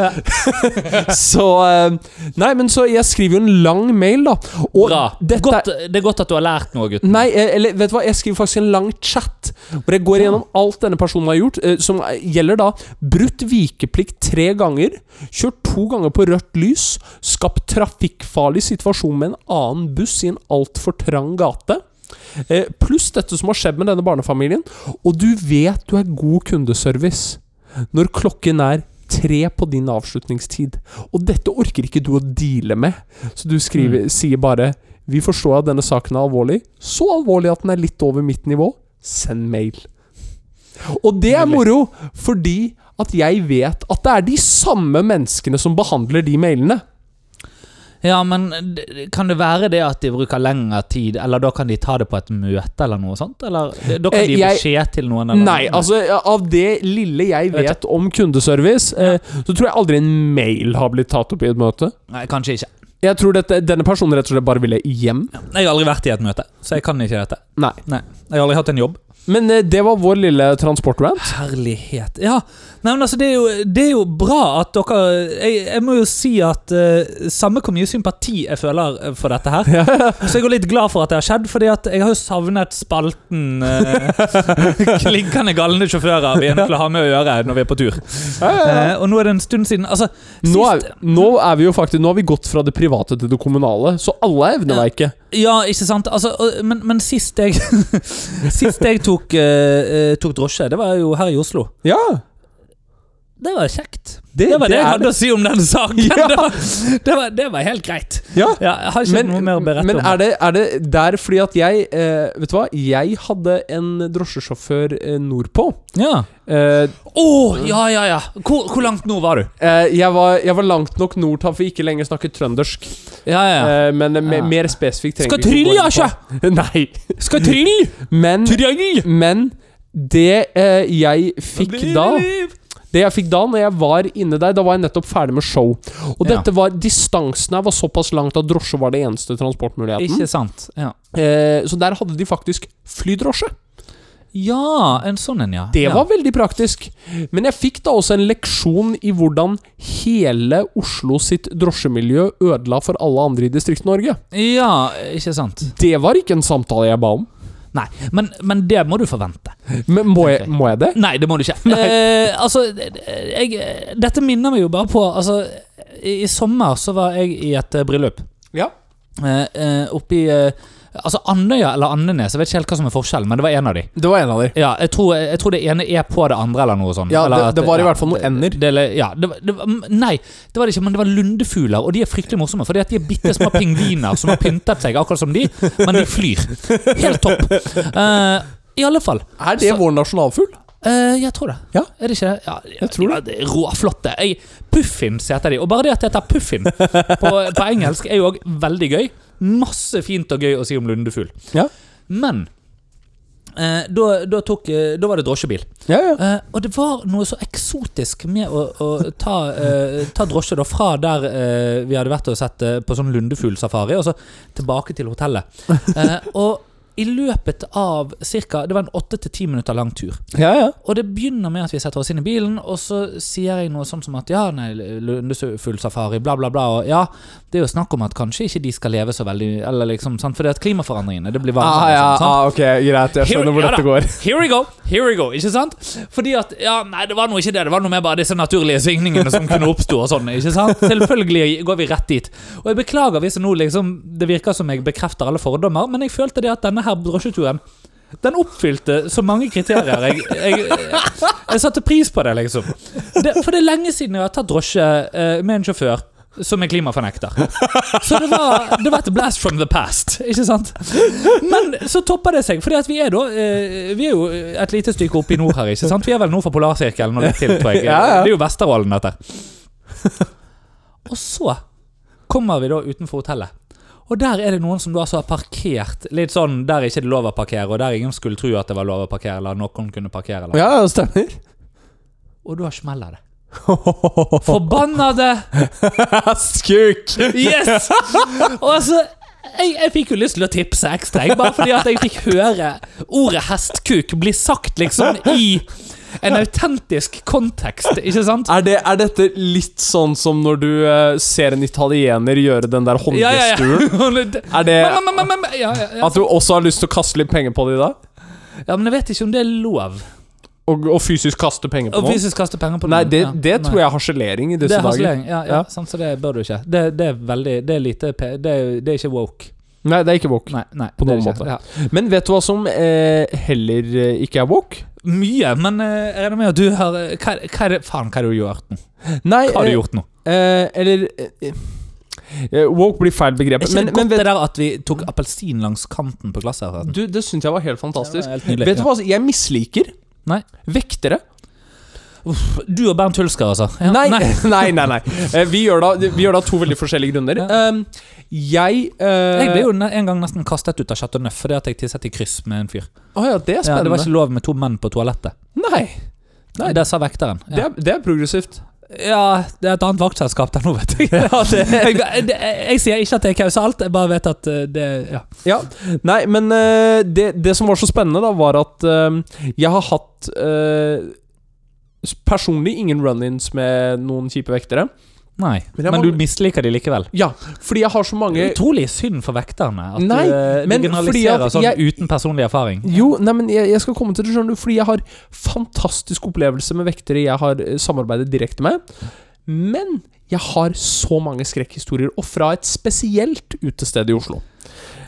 Speaker 2: så eh, Nei, men så Jeg skriver jo en lang mail, da. Og
Speaker 1: Bra.
Speaker 2: dette er-
Speaker 1: godt, det er godt at du har lært noe, gutten.
Speaker 2: Nei, eh, eller vet du hva, jeg skriver faktisk en lang chat hvor jeg går gjennom alt denne personen har gjort, eh, som eh, gjelder da brutt vikeplikt tre ganger, kjørt to ganger på rødt lys, skapt trafikkfarlig situasjon med en annen buss i en altfor trang gate. eh, Pluss dette som har skjedd med denne barnefamilien. Og du vet du er god kundeservice når klokken er tre på din avslutningstid. Og dette orker ikke du å deale med, så du skriver, sier bare vi forstår at denne saken er alvorlig. Så alvorlig at den er litt over mitt nivå. Send mail. Og det er moro, fordi at jeg vet at det er de samme menneskene som behandler de mailene.
Speaker 1: Ja, men d- kan det være det at de bruker lengre tid, eller da kan de ta det på et møte eller noe sånt? Eller da kan
Speaker 2: Eh,
Speaker 1: de gi
Speaker 2: jeg-
Speaker 1: beskjed til noen? Eller
Speaker 2: Nei, altså av det lille jeg
Speaker 1: vet
Speaker 2: vet om kundeservice, eh, så tror jeg aldri en mail har blitt tatt opp i et møte.
Speaker 1: Nei, kanskje ikke.
Speaker 2: Jeg tror dette, denne personen rett og slett bare ville hjem.
Speaker 1: Jeg har aldri vært i et møte, så jeg kan ikke dette.
Speaker 2: Nei.
Speaker 1: Nei, Jeg har aldri hatt en jobb.
Speaker 2: Men eh, det var vår lille transportrant.
Speaker 1: Herlighet. Ja, nei, men altså, det er jo, det er jo bra at dere Jeg, jeg må jo si at eh, samme hvor mye sympati jeg føler eh, for dette her, så jeg er jo litt glad for at det har skjedd, fordi at jeg har jo savnet spalten eh, klinkende galne sjåfører vi er nødt til å ha med å gjøre når vi er på tur. Eh, og nå er det en stund siden Altså,
Speaker 2: Eh, Nå er,
Speaker 1: sist-
Speaker 2: nå er vi jo faktisk Nå har vi gått fra det private til det kommunale, så alle evner meg ikke.
Speaker 1: Ja, ikke sant? Altså, og- men, men sist jeg Sist jeg tok, eh, eh, tok drosje, det var jo her i Oslo.
Speaker 2: Ja,
Speaker 1: Det var kjekt.
Speaker 2: det,
Speaker 1: Det var det jeg hadde
Speaker 2: er-
Speaker 1: å si om den saken.
Speaker 2: Ja.
Speaker 1: Det, var, det, var, det var helt greit.
Speaker 2: Ja.
Speaker 1: Ja, jeg har ikke
Speaker 2: Men,
Speaker 1: noe mer å berette
Speaker 2: men
Speaker 1: om.
Speaker 2: er, det, er det der fordi at jeg eh, Vet du hva? Jeg hadde en drosjesjåfør eh, nordpå.
Speaker 1: Ja.
Speaker 2: Eh,
Speaker 1: Å, ja, ja, ja. Hvor, hvor langt nå var du?
Speaker 2: eh, jeg, var, jeg var langt nok nord til at vi ikke lenger snakket trøndersk.
Speaker 1: Ja, ja.
Speaker 2: Eh, men eh, me,
Speaker 1: Ja.
Speaker 2: mer spesifikt
Speaker 1: Skal
Speaker 2: trenger vi
Speaker 1: trylle,
Speaker 2: ikke å gå inn på. Nei.
Speaker 1: Skal trylle!
Speaker 2: Men
Speaker 1: Tryll!
Speaker 2: Men Det eh, jeg fikk da Det jeg fikk da når jeg var inne der, da var jeg nettopp ferdig med show. Og
Speaker 1: Ja.
Speaker 2: dette var, distansen her var såpass langt at drosje var det eneste transportmuligheten.
Speaker 1: Ikke sant? Ja.
Speaker 2: Eh, så der hadde de faktisk flydrosje.
Speaker 1: ja, en sånn en, ja.
Speaker 2: Det
Speaker 1: ja.
Speaker 2: var veldig praktisk. Men jeg fikk da også en leksjon i hvordan hele Oslo sitt drosjemiljø ødela for alle andre i Distrikt-Norge.
Speaker 1: Ja, ikke sant?
Speaker 2: Det var ikke en samtale jeg ba om.
Speaker 1: Nei, men, men det må du forvente.
Speaker 2: Men må jeg, må jeg det?
Speaker 1: Nei, det må du ikke. Eh, altså, jeg, dette minner meg jo bare på altså, i, I sommer så var jeg i et eh, bryllup.
Speaker 2: Ja.
Speaker 1: Eh, eh, oppi eh, Altså Andøya eller Andenes, jeg vet ikke helt hva som er forskjellen, men det var en av de.
Speaker 2: Det var en av de.
Speaker 1: Ja, jeg tror, jeg tror det ene er på det andre, eller noe sånt.
Speaker 2: Ja,
Speaker 1: eller
Speaker 2: det-
Speaker 1: at-
Speaker 2: det var i
Speaker 1: ja,
Speaker 2: hvert fall noen
Speaker 1: det-
Speaker 2: ender.
Speaker 1: det- ja, det, var- det, var- nei, det var det ikke, men det var lundefugler, og de er fryktelig morsomme. Fordi at de er bitte små pingviner som har pyntet seg, akkurat som de, men de flyr. Helt topp. Eh, I alle fall.
Speaker 2: Er det
Speaker 1: Så-
Speaker 2: vår nasjonalfugl?
Speaker 1: Eh, jeg tror det.
Speaker 2: Ja.
Speaker 1: Er det ikke det? Ja, jeg
Speaker 2: tror det.
Speaker 1: det er råflotte. Jeg, Puffins heter de. Og bare det at det heter Puffin på, på engelsk, er jo òg veldig gøy. Masse fint og gøy å si om lundefugl.
Speaker 2: Ja.
Speaker 1: Men eh, da, da, tok, eh, da var det drosjebil.
Speaker 2: Ja, ja.
Speaker 1: Eh, og det var noe så eksotisk med å, å ta, eh, ta drosje da fra der eh, vi hadde vært og sett eh, på sånn lundefuglsafari, og så tilbake til hotellet. Eh, og i løpet av cirka, det var en åtte til ti minutter lang tur.
Speaker 2: ja, ja.
Speaker 1: Og det begynner med at vi setter oss inn i bilen, og så sier jeg noe sånn som at ja, nei, lundefuglsafari, bla, bla, bla. Og ja, det er jo snakk om at kanskje ikke de skal leve så veldig Eller liksom, sant, for det er at klimaforandringene, det blir varmere.
Speaker 2: Ah, ja,
Speaker 1: og sånn, sant?
Speaker 2: ah, ok, greit. Jeg skjønner hvor
Speaker 1: Here- ja
Speaker 2: dette
Speaker 1: da.
Speaker 2: går.
Speaker 1: Here we go, here we go, ikke sant? Fordi at, ja, nei, det var noe ikke det, det var noe mer bare disse naturlige svingningene som kunne oppstå og sånn, ikke sant? Selvfølgelig går vi rett dit. Og jeg beklager hvis nå liksom, det virker som jeg bekrefter alle fordommer, men jeg følte det at denne her drosjeturen, den oppfylte så mange kriterier. Jeg, jeg, jeg, jeg satte pris på det, liksom. Det, for det er lenge siden jeg har tatt drosje eh, med en sjåfør som er klimafornekter. Så det var, det var et blast from the past, ikke sant? Men så topper det seg, fordi at vi er da eh, Vi er jo et lite stykke opp i nord her, ikke sant? Vi er vel nord for polarsirkelen og litt til, tror jeg.
Speaker 2: Ja, ja.
Speaker 1: Det er jo Vesterålen, dette. Og så kommer vi da utenfor hotellet. Og der er det noen som da altså har parkert litt sånn der ikke det er lov å parkere, og der ingen skulle tro at det var lov å parkere, eller noen kunne parkere, eller
Speaker 2: Ja, det stemmer.
Speaker 1: Og da smeller det. Forbannede
Speaker 2: Skuk!
Speaker 1: Yes! Og altså, jeg, jeg fikk jo lyst til å tipse ekstra, jeg, bare fordi at jeg fikk høre ordet hestkuk bli sagt liksom i en autentisk kontekst, ikke sant?
Speaker 2: Er, det, er dette litt sånn som når du eh, ser en italiener gjøre den der
Speaker 1: Ja, ja, ja.
Speaker 2: håndgesturen?
Speaker 1: Men,
Speaker 2: Er det
Speaker 1: men, men, men, men, ja, ja, ja.
Speaker 2: at du også har lyst til å kaste litt penger på det i dag?
Speaker 1: ja, men jeg vet ikke om det er lov
Speaker 2: Og, og fysisk kaste penger på
Speaker 1: å
Speaker 2: noen?
Speaker 1: fysisk kaste penger på
Speaker 2: Nei, det,
Speaker 1: Ja,
Speaker 2: det
Speaker 1: nei.
Speaker 2: tror jeg er harselering i
Speaker 1: Det
Speaker 2: disse
Speaker 1: er
Speaker 2: dager.
Speaker 1: harselering. Ja, ja,
Speaker 2: Ja.
Speaker 1: Sant, så det bør du ikke. Det, det er veldig Det er lite pe- Det er, det er ikke woke.
Speaker 2: Nei, det er ikke woke.
Speaker 1: Nei, nei
Speaker 2: På
Speaker 1: det er
Speaker 2: noen
Speaker 1: det ikke.
Speaker 2: måte.
Speaker 1: Ja.
Speaker 2: Men vet du hva som eh, heller eh, ikke er woke?
Speaker 1: Mye, men eh, jeg regner med at du har eh, Hva, hva er det Faen, hva har du gjort nå?
Speaker 2: Nei,
Speaker 1: Hva har
Speaker 2: eh,
Speaker 1: du gjort nå?
Speaker 2: Eh, eller eh, eh, Woke blir feil begrep.
Speaker 1: Er ikke
Speaker 2: Men,
Speaker 1: det godt
Speaker 2: men vet,
Speaker 1: det der at vi tok appelsin langs kanten på glasset? her?
Speaker 2: du, det syns jeg var helt fantastisk.
Speaker 1: Helt nydelig.
Speaker 2: Vet du hva jeg misliker?
Speaker 1: Nei.
Speaker 2: Vektere.
Speaker 1: Du og Bernt Hulsker, altså. Ja,
Speaker 2: Nei, nei, nei. nei, Eh, vi, gjør da, vi gjør da to veldig forskjellige grunner.
Speaker 1: Ja.
Speaker 2: Um, jeg eh,
Speaker 1: Jeg ble jo ne- en gang nesten kastet ut av Chateau Neuf fordi at jeg tisset i kryss med en fyr.
Speaker 2: Å ja, det er
Speaker 1: Ja, det
Speaker 2: spennende.
Speaker 1: var ikke lov med to menn på toalettet.
Speaker 2: Nei. Nei.
Speaker 1: Det sa vekteren.
Speaker 2: Det
Speaker 1: Ja.
Speaker 2: er, det er progressivt.
Speaker 1: ja, det er et annet vaktselskap der nå, vet jeg. jeg, jeg, jeg sier ikke at det er kausalt, jeg bare vet at eh, det ja.
Speaker 2: Ja. Nei, men eh, det, det som var så spennende, da, var at eh, jeg har hatt eh, personlig ingen run-ins med noen kjipe vektere.
Speaker 1: Nei.
Speaker 2: Men jeg
Speaker 1: Men
Speaker 2: må-
Speaker 1: du misliker de likevel.
Speaker 2: Ja, fordi jeg har så mange
Speaker 1: Utrolig synd for vekterne at
Speaker 2: Nei,
Speaker 1: du, eh,
Speaker 2: men
Speaker 1: du
Speaker 2: fordi at
Speaker 1: generaliserer sånn
Speaker 2: jeg-
Speaker 1: uten personlig erfaring.
Speaker 2: Jo, nei, men jeg, jeg skal komme til det, skjønner du, fordi jeg har fantastisk opplevelse med vektere jeg har eh, samarbeidet direkte med. Men jeg har så mange skrekkhistorier, og fra et spesielt utested i Oslo.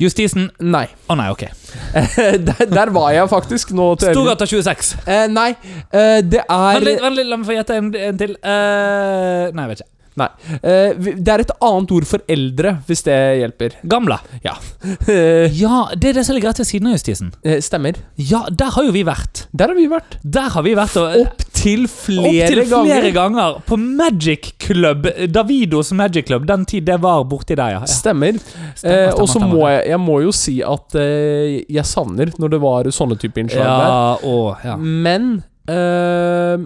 Speaker 1: Justisen
Speaker 2: Nei.
Speaker 1: Å nei, ok.
Speaker 2: der, der var jeg faktisk nå til helgen.
Speaker 1: Storgata 26.
Speaker 2: Eh, nei, eh, det er
Speaker 1: Vent litt, vent litt, la meg få gjette en, en til. Eh, nei, jeg vet ikke.
Speaker 2: eh, vi- Det er et annet ord for eldre, hvis det hjelper.
Speaker 1: Gamla.
Speaker 2: Eh,
Speaker 1: Ja, det er det som ligger rett ved siden av justisen.
Speaker 2: eh, stemmer.
Speaker 1: Ja, der har jo vi vært.
Speaker 2: Der har vi vært.
Speaker 1: Der har vi vært og
Speaker 2: Opp Opptil flere,
Speaker 1: Opptil flere
Speaker 2: ganger.
Speaker 1: ganger på Magic Club. Davidos Magic Club. Den tid det var borti der, ja. ja.
Speaker 2: Stemmer.
Speaker 1: Stemmer,
Speaker 2: eh, og så
Speaker 1: stemmer,
Speaker 2: må jeg, jeg må jo si at eh, jeg savner når det var sånne type innslag der.
Speaker 1: Ja, å, ja.
Speaker 2: Men eh,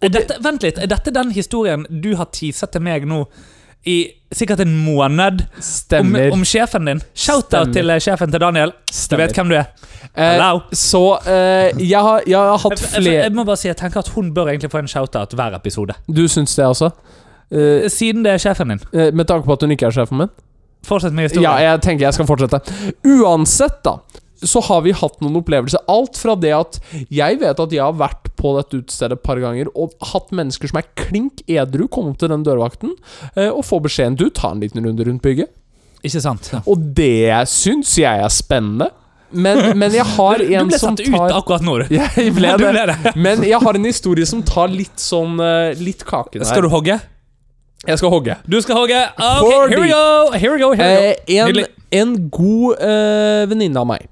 Speaker 1: Er dette, vent litt, er dette den historien du har teaset til meg nå i sikkert en måned? Om,
Speaker 2: Stemmer.
Speaker 1: om sjefen din.
Speaker 2: Stemmer.
Speaker 1: Shout-out til eh, sjefen til Daniel. Du
Speaker 2: stemmer.
Speaker 1: vet hvem du er.
Speaker 2: eh,
Speaker 1: Hello.
Speaker 2: så eh, jeg, har, jeg har hatt
Speaker 1: Jeg, jeg,
Speaker 2: flere
Speaker 1: jeg må bare si, jeg tenker at hun bør egentlig få en shout-out hver episode.
Speaker 2: Du syns det, altså? Eh,
Speaker 1: Siden det er sjefen din.
Speaker 2: eh, med tanke på at hun ikke er sjefen min?
Speaker 1: Fortsett med historien.
Speaker 2: Ja, jeg tenker jeg skal fortsette. Uansett, da, så har vi hatt noen opplevelser. Alt fra det at jeg vet at jeg har vært på dette utestedet et par ganger og hatt mennesker som er klink edru, komme opp til den dørvakten eh, og få beskjeden Du, ta en liten runde rundt bygget.
Speaker 1: Ikke sant?
Speaker 2: Og det syns jeg er spennende. Men, men jeg har
Speaker 1: Du
Speaker 2: en
Speaker 1: ble
Speaker 2: som
Speaker 1: satt ut
Speaker 2: tar
Speaker 1: akkurat nå, du.
Speaker 2: Jeg ble
Speaker 1: Du
Speaker 2: det.
Speaker 1: ble det.
Speaker 2: Men jeg har en historie som tar litt sånn eh, Litt kake der.
Speaker 1: Skal du hogge?
Speaker 2: Jeg skal hogge.
Speaker 1: Du skal hogge. Ok,
Speaker 2: Fordi-
Speaker 1: here we go! Here we go, here we go.
Speaker 2: Eh, en,
Speaker 1: Nydelig.
Speaker 2: en god eh, venninne av meg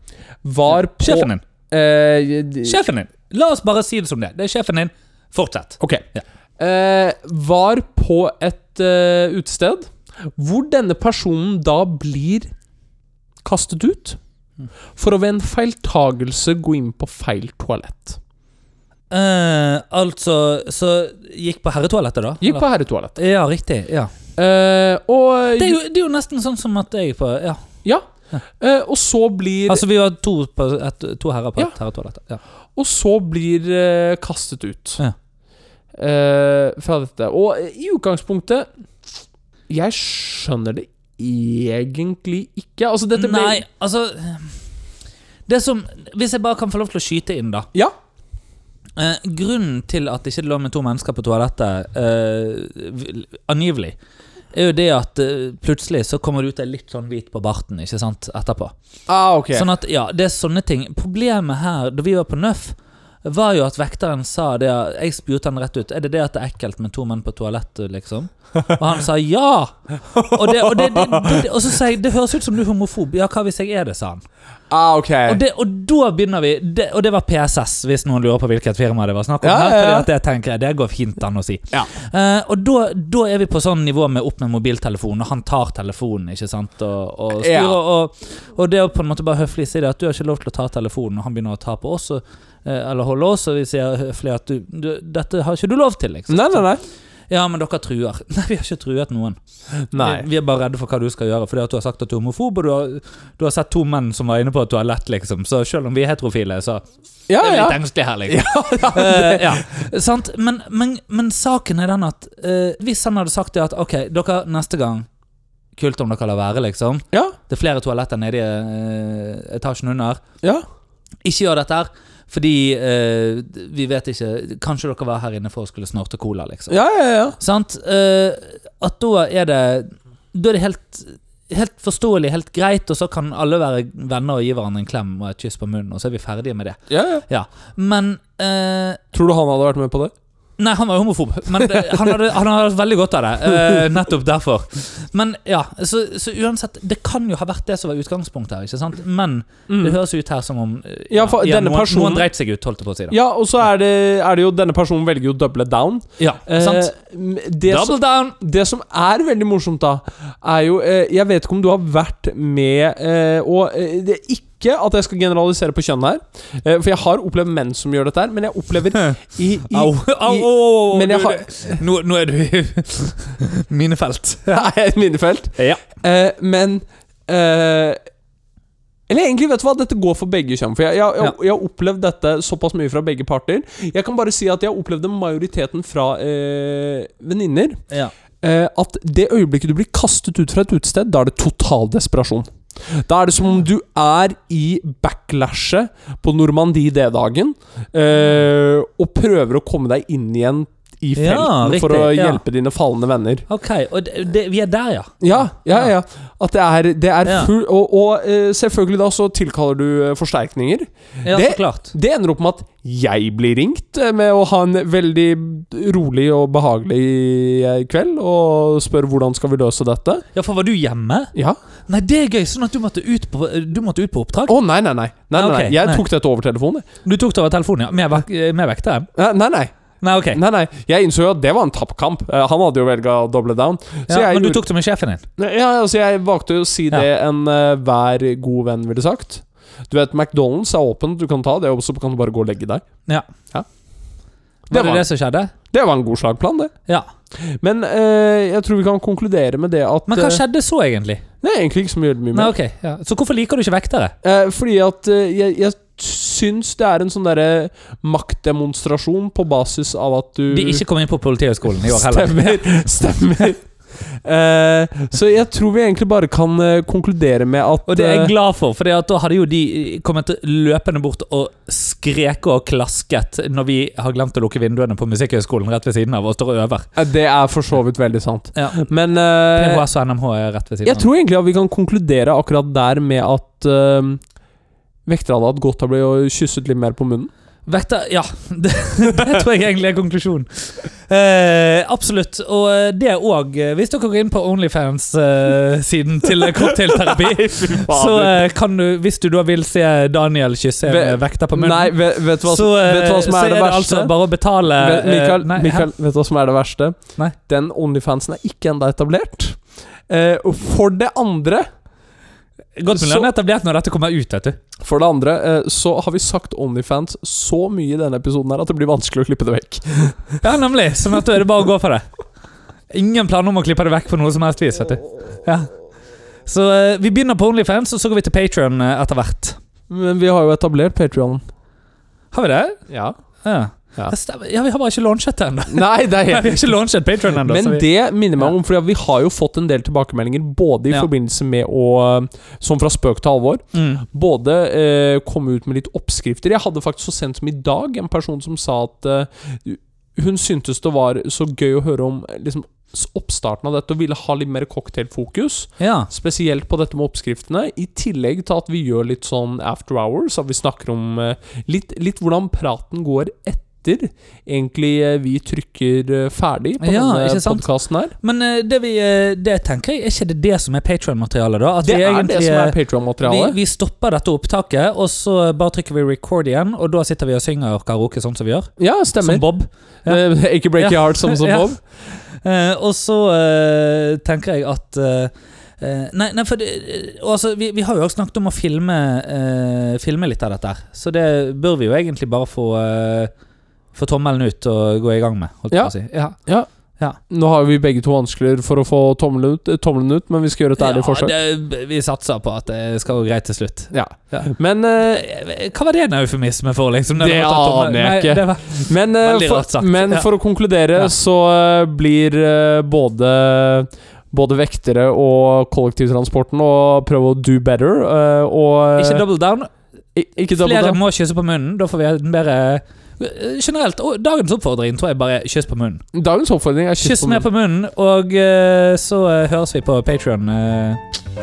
Speaker 2: var på
Speaker 1: Sjefen din.
Speaker 2: Eh, d-
Speaker 1: Sjefen din. La oss bare si det som det. er. Det er sjefen din. Fortsett.
Speaker 2: Ok.
Speaker 1: Ja.
Speaker 2: Eh, var på et eh, utested hvor denne personen da blir kastet ut for å ved en feiltagelse gå inn på feil toalett.
Speaker 1: Eh, altså Så gikk på herretoalettet, da?
Speaker 2: Gikk på herretoalett.
Speaker 1: eller? Ja, riktig. ja
Speaker 2: Eh, og
Speaker 1: det er, jo, det er jo nesten sånn som at jeg på ja.
Speaker 2: Ja. Eh, og så blir
Speaker 1: Altså, vi var to, på et, to herrer på
Speaker 2: Ja.
Speaker 1: et herretoalett. Ja.
Speaker 2: Og så blir eh, kastet ut
Speaker 1: Ja.
Speaker 2: eh, fra dette. Og eh, i utgangspunktet Jeg skjønner det egentlig ikke. Altså, dette ble-
Speaker 1: Nei, altså Det som Hvis jeg bare kan få lov til å skyte inn, da.
Speaker 2: Ja.
Speaker 1: Eh, grunnen til at det ikke lå med to mennesker på toalettet, eh, vil- angivelig, er jo det at eh, plutselig så kommer du ut ei litt sånn hvit på barten ikke sant, etterpå.
Speaker 2: Ah, ok.
Speaker 1: Sånn at, ja, det er sånne ting. Problemet her, da vi var på NØF, var jo at vekteren sa det Jeg spurte han rett ut Er det det at det er ekkelt med to menn på toalettet, liksom. Og han sa ja! Og, det, og, det, det, det, og så sa jeg det høres ut som du er homofob. Ja, hva hvis jeg er det, sa han.
Speaker 2: Ah, ok.
Speaker 1: Og, det, og da begynner vi det, Og det var PSS, hvis noen lurer på hvilket firma det var snakk om.
Speaker 2: Ja,
Speaker 1: her,
Speaker 2: ja, ja.
Speaker 1: fordi at det tenker jeg, det går fint an å si.
Speaker 2: Ja.
Speaker 1: Eh, og da, da er vi på sånn nivå med opp med mobiltelefonen, og han tar telefonen, ikke sant, og, og styrer.
Speaker 2: Ja.
Speaker 1: Og, og det å på en måte bare høflig si det, at du har ikke lov til å ta telefonen, og han begynner å ta på oss, og, eh, eller holde oss, og vi sier høflig at du, du Dette har ikke du lov til, liksom.
Speaker 2: Nei, nei, nei.
Speaker 1: Ja, men dere truer. Nei, vi har ikke truet noen.
Speaker 2: Nei.
Speaker 1: Vi, vi er bare redde for hva du skal gjøre, fordi at du har sagt at du er homofob, og du har, du har sett to menn som var inne på et toalett, liksom. Så selv om vi er heterofile, så
Speaker 2: Ja,
Speaker 1: er vi
Speaker 2: ja.
Speaker 1: litt engstelige her, liksom. Ja, ja. Sant? Men, men, men saken er den at eh, hvis han hadde sagt det at ok, dere neste gang Kult om dere lar være, liksom.
Speaker 2: Ja,
Speaker 1: Det er flere toaletter nede i eh, etasjen under.
Speaker 2: ja.
Speaker 1: Ikke gjør dette her, fordi eh, vi vet ikke Kanskje dere var her inne for å skulle snorte cola, liksom.
Speaker 2: ja, ja, ja.
Speaker 1: Sant? Eh, at da er det Da er det helt, helt forståelig, helt greit, og så kan alle være venner og gi hverandre en klem og et kyss på munnen, og så er vi ferdige med det.
Speaker 2: ja, ja.
Speaker 1: Ja. Men eh,
Speaker 2: Tror du han hadde vært med på det?
Speaker 1: Nei, han var jo homofob, men det, han, hadde, han hadde hatt veldig godt av det. eh, nettopp derfor. Men ja, så, så uansett Det kan jo ha vært det som var utgangspunktet her, ikke sant? Men det høres ut her som om eh,
Speaker 2: Mm. Ja, for denne
Speaker 1: Mm. noen,
Speaker 2: personen-
Speaker 1: noen dreit seg ut, holdt jeg på å si. Da.
Speaker 2: Ja, og så er det, er det jo Denne personen velger jo å double down.
Speaker 1: Ja, sant?
Speaker 2: Eh, det som
Speaker 1: Double down!
Speaker 2: Det som er veldig morsomt, da, er jo eh, Jeg vet ikke om du har vært med eh, Og eh, det er ikke at jeg skal generalisere på kjønn her, eh, for jeg har opplevd menn som gjør dette her, men jeg opplever i, i
Speaker 1: Au, au, au, au, au.
Speaker 2: Men jeg
Speaker 1: Du-
Speaker 2: har-
Speaker 1: det- nå, nå er du i mine felt.
Speaker 2: Nei, minefelt.
Speaker 1: Ja.
Speaker 2: Eh, men eh, Eller egentlig, vet du hva, dette går for begge kjønn. For jeg, jeg, jeg, jeg har opplevd dette såpass mye fra begge parter. Jeg kan bare si at jeg har opplevd det majoriteten fra eh, venninner.
Speaker 1: Ja.
Speaker 2: eh, at det øyeblikket du blir kastet ut fra et utested, da er det total desperasjon. Da er det som om du er i backlashet på Normandie D-dagen, eh, og prøver å komme deg inn igjen i
Speaker 1: Ja,
Speaker 2: felten for
Speaker 1: riktig,
Speaker 2: å
Speaker 1: ja.
Speaker 2: hjelpe dine falne venner.
Speaker 1: Ok, og det, det, vi er der, ja.
Speaker 2: Ja, ja, ja. At det er, det er
Speaker 1: Ja.
Speaker 2: full Og, og eh, selvfølgelig da så tilkaller du eh, forsterkninger.
Speaker 1: Ja,
Speaker 2: Det-
Speaker 1: så klart.
Speaker 2: Det ender opp med at jeg blir ringt eh, med å ha en veldig rolig og behagelig eh, kveld, og spør hvordan skal vi løse dette.
Speaker 1: Ja, for var du hjemme?
Speaker 2: Ja.
Speaker 1: Nei, det er gøy, sånn at du måtte ut på, du måtte ut på oppdrag.
Speaker 2: Å, nei, nei, nei. nei, nei,
Speaker 1: Ah, ok,
Speaker 2: nei. Jeg
Speaker 1: nei.
Speaker 2: tok dette over telefonen. jeg.
Speaker 1: eh, Du tok det over telefonen, ja. Med, vek, med vekteren.
Speaker 2: Nei, nei. nei.
Speaker 1: Nei, ok.
Speaker 2: Nei, nei, jeg innså jo at det var en tapt kamp. Eh, han hadde jo velga å doble down. Så
Speaker 1: Ja,
Speaker 2: jeg,
Speaker 1: men du
Speaker 2: gjorde-
Speaker 1: tok det med sjefen din.
Speaker 2: ja, altså, jeg valgte å si
Speaker 1: Ja.
Speaker 2: det en eh, hver god venn ville sagt. Du vet, McDonald's er åpent, du kan ta det, og så kan du bare gå og legge deg.
Speaker 1: Var det
Speaker 2: var-
Speaker 1: det, som skjedde?
Speaker 2: Det var en god slagplan, det.
Speaker 1: Ja.
Speaker 2: Men eh, jeg tror vi kan konkludere med det at
Speaker 1: Men hva
Speaker 2: eh,
Speaker 1: skjedde så, egentlig?
Speaker 2: Det er egentlig ikke så mye, mye
Speaker 1: Nei,
Speaker 2: mer.
Speaker 1: ok. Ja. Så hvorfor liker du ikke vektere?
Speaker 2: Eh, fordi at eh, jeg, jeg syns det er en sånn derre maktdemonstrasjon på basis av at du
Speaker 1: De ikke kom inn på Politihøgskolen i år heller.
Speaker 2: Stemmer. stemmer. Eh, så jeg tror vi egentlig bare kan eh, konkludere med at
Speaker 1: Og det er
Speaker 2: eh,
Speaker 1: jeg glad for, for da hadde jo de eh, kommet løpende bort og skreket og klasket når vi har glemt å lukke vinduene på Musikkhøgskolen rett ved siden av og står og øver.
Speaker 2: eh, det er for så vidt veldig sant.
Speaker 1: Ja.
Speaker 2: Men eh,
Speaker 1: PHS og NMH er rett ved siden
Speaker 2: jeg tror egentlig at vi kan konkludere akkurat der med at eh, vektere hadde hatt godt av å bli kysset litt mer på munnen.
Speaker 1: Vekter, ja, det, det tror jeg egentlig er konklusjonen. Eh, absolutt. Og eh, det òg. Hvis dere går inn på Onlyfans-siden til eh, cocktailterapi, så eh, kan du, hvis du da vil se Daniel kysse en
Speaker 2: Ve-
Speaker 1: vekter på
Speaker 2: Nei,
Speaker 1: munnen,
Speaker 2: vet, vet, du hva,
Speaker 1: så, eh,
Speaker 2: vet du hva som
Speaker 1: så
Speaker 2: er det verste?
Speaker 1: altså bare å betale
Speaker 2: Vet,
Speaker 1: eh,
Speaker 2: Mikael,
Speaker 1: nei,
Speaker 2: Mikael, vet du hva som er det verste?
Speaker 1: Nei.
Speaker 2: Den Onlyfansen er ikke enda etablert. Eh, og for det andre
Speaker 1: Godt mulig
Speaker 2: Så-
Speaker 1: han er etablert når dette kommer ut, vet du.
Speaker 2: For det andre eh, så har vi sagt Onlyfans så mye i denne episoden her at det blir vanskelig å klippe det vekk.
Speaker 1: Ja, nemlig. Sånn at da er det bare å gå for det. Ingen planer om å klippe det vekk på noe som helst vis, vet du. Ja. Så eh, vi begynner på Onlyfans, og så går vi til Patron etter hvert.
Speaker 2: Men vi har jo etablert Patreon
Speaker 1: Har vi det?
Speaker 2: Ja.
Speaker 1: Ja.
Speaker 2: Ja.
Speaker 1: Det stemmer. ja, vi har bare ikke launchet det ennå.
Speaker 2: Nei, det er
Speaker 1: Vi har
Speaker 2: helt
Speaker 1: ikke launchet Patron ennå.
Speaker 2: Men
Speaker 1: så vi-
Speaker 2: det minner meg om, for vi har jo fått en del tilbakemeldinger både i
Speaker 1: Ja.
Speaker 2: forbindelse med å eh, Som fra spøk til alvor.
Speaker 1: mm.
Speaker 2: Både eh, komme ut med litt oppskrifter. Jeg hadde faktisk så sent som i dag en person som sa at eh, hun syntes det var så gøy å høre om eh, liksom, s- oppstarten av dette, og ville ha litt mer cocktailfokus.
Speaker 1: ja.
Speaker 2: Spesielt på dette med oppskriftene, i tillegg til at vi gjør litt sånn after hours, at vi snakker om eh, litt, litt hvordan praten går etter egentlig eh, vi trykker eh, ferdig på
Speaker 1: Ja, ikke
Speaker 2: denne
Speaker 1: sant?
Speaker 2: podkasten her.
Speaker 1: Men eh, det, vi, eh, det tenker jeg, er ikke det det som er Patron-materialet, da? At
Speaker 2: Det
Speaker 1: vi
Speaker 2: er
Speaker 1: egentlig,
Speaker 2: det som
Speaker 1: eh,
Speaker 2: er Patreon-materialet.
Speaker 1: Vi, vi stopper dette opptaket, og så bare trykker vi record igjen, og da sitter vi og synger karaoke sånn som vi gjør.
Speaker 2: Ja, stemmer.
Speaker 1: Som Bob. ja.
Speaker 2: Eh, Ikke break your heart, som som
Speaker 1: Ja.
Speaker 2: Bob.
Speaker 1: Eh, og så eh, tenker jeg at eh, eh, Nei, nei for det, eh, og altså, vi, vi har jo også snakket om å filme, eh, filme litt av dette. her. Så det bør vi jo egentlig bare få, eh, få tommelen ut og gå i gang med. Holdt jeg
Speaker 2: Ja.
Speaker 1: på å si. ja.
Speaker 2: Nå har vi begge to vanskeligere for å få tommelen ut, eh, tommelen ut men vi skal gjøre et ærlig forsøk.
Speaker 1: det- vi satser på at det skal gå greit til slutt.
Speaker 2: Ja.
Speaker 1: Ja.
Speaker 2: Men, eh,
Speaker 1: Eh, Hva var det en eufemisme for? liksom?
Speaker 2: Det
Speaker 1: var tatt om-
Speaker 2: aner jeg
Speaker 1: Nei,
Speaker 2: ikke.
Speaker 1: det var-
Speaker 2: men, eh,
Speaker 1: Veldig rart
Speaker 2: for,
Speaker 1: sagt.
Speaker 2: men
Speaker 1: Ja.
Speaker 2: for å konkludere
Speaker 1: Ja.
Speaker 2: så eh, blir eh, både både vektere og kollektivtransporten og prøve å do better. eh, og
Speaker 1: Ikke double down.
Speaker 2: I- ikke double
Speaker 1: Flere
Speaker 2: down.
Speaker 1: må kysse på munnen. Da får vi en bedre eh, Generelt, og dagens oppfordring tror jeg bare er kyss på munnen.
Speaker 2: Dagens oppfordring er
Speaker 1: Kyss
Speaker 2: kyss på
Speaker 1: meg på munnen, og eh, så eh, høres vi på Patrion eh,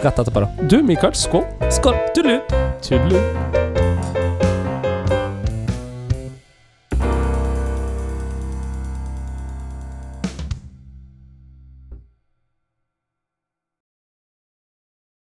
Speaker 1: rett etterpå, da.
Speaker 2: munnen. Du, Mikael, skål.
Speaker 1: Skål! Tudelu!
Speaker 2: Tudelu.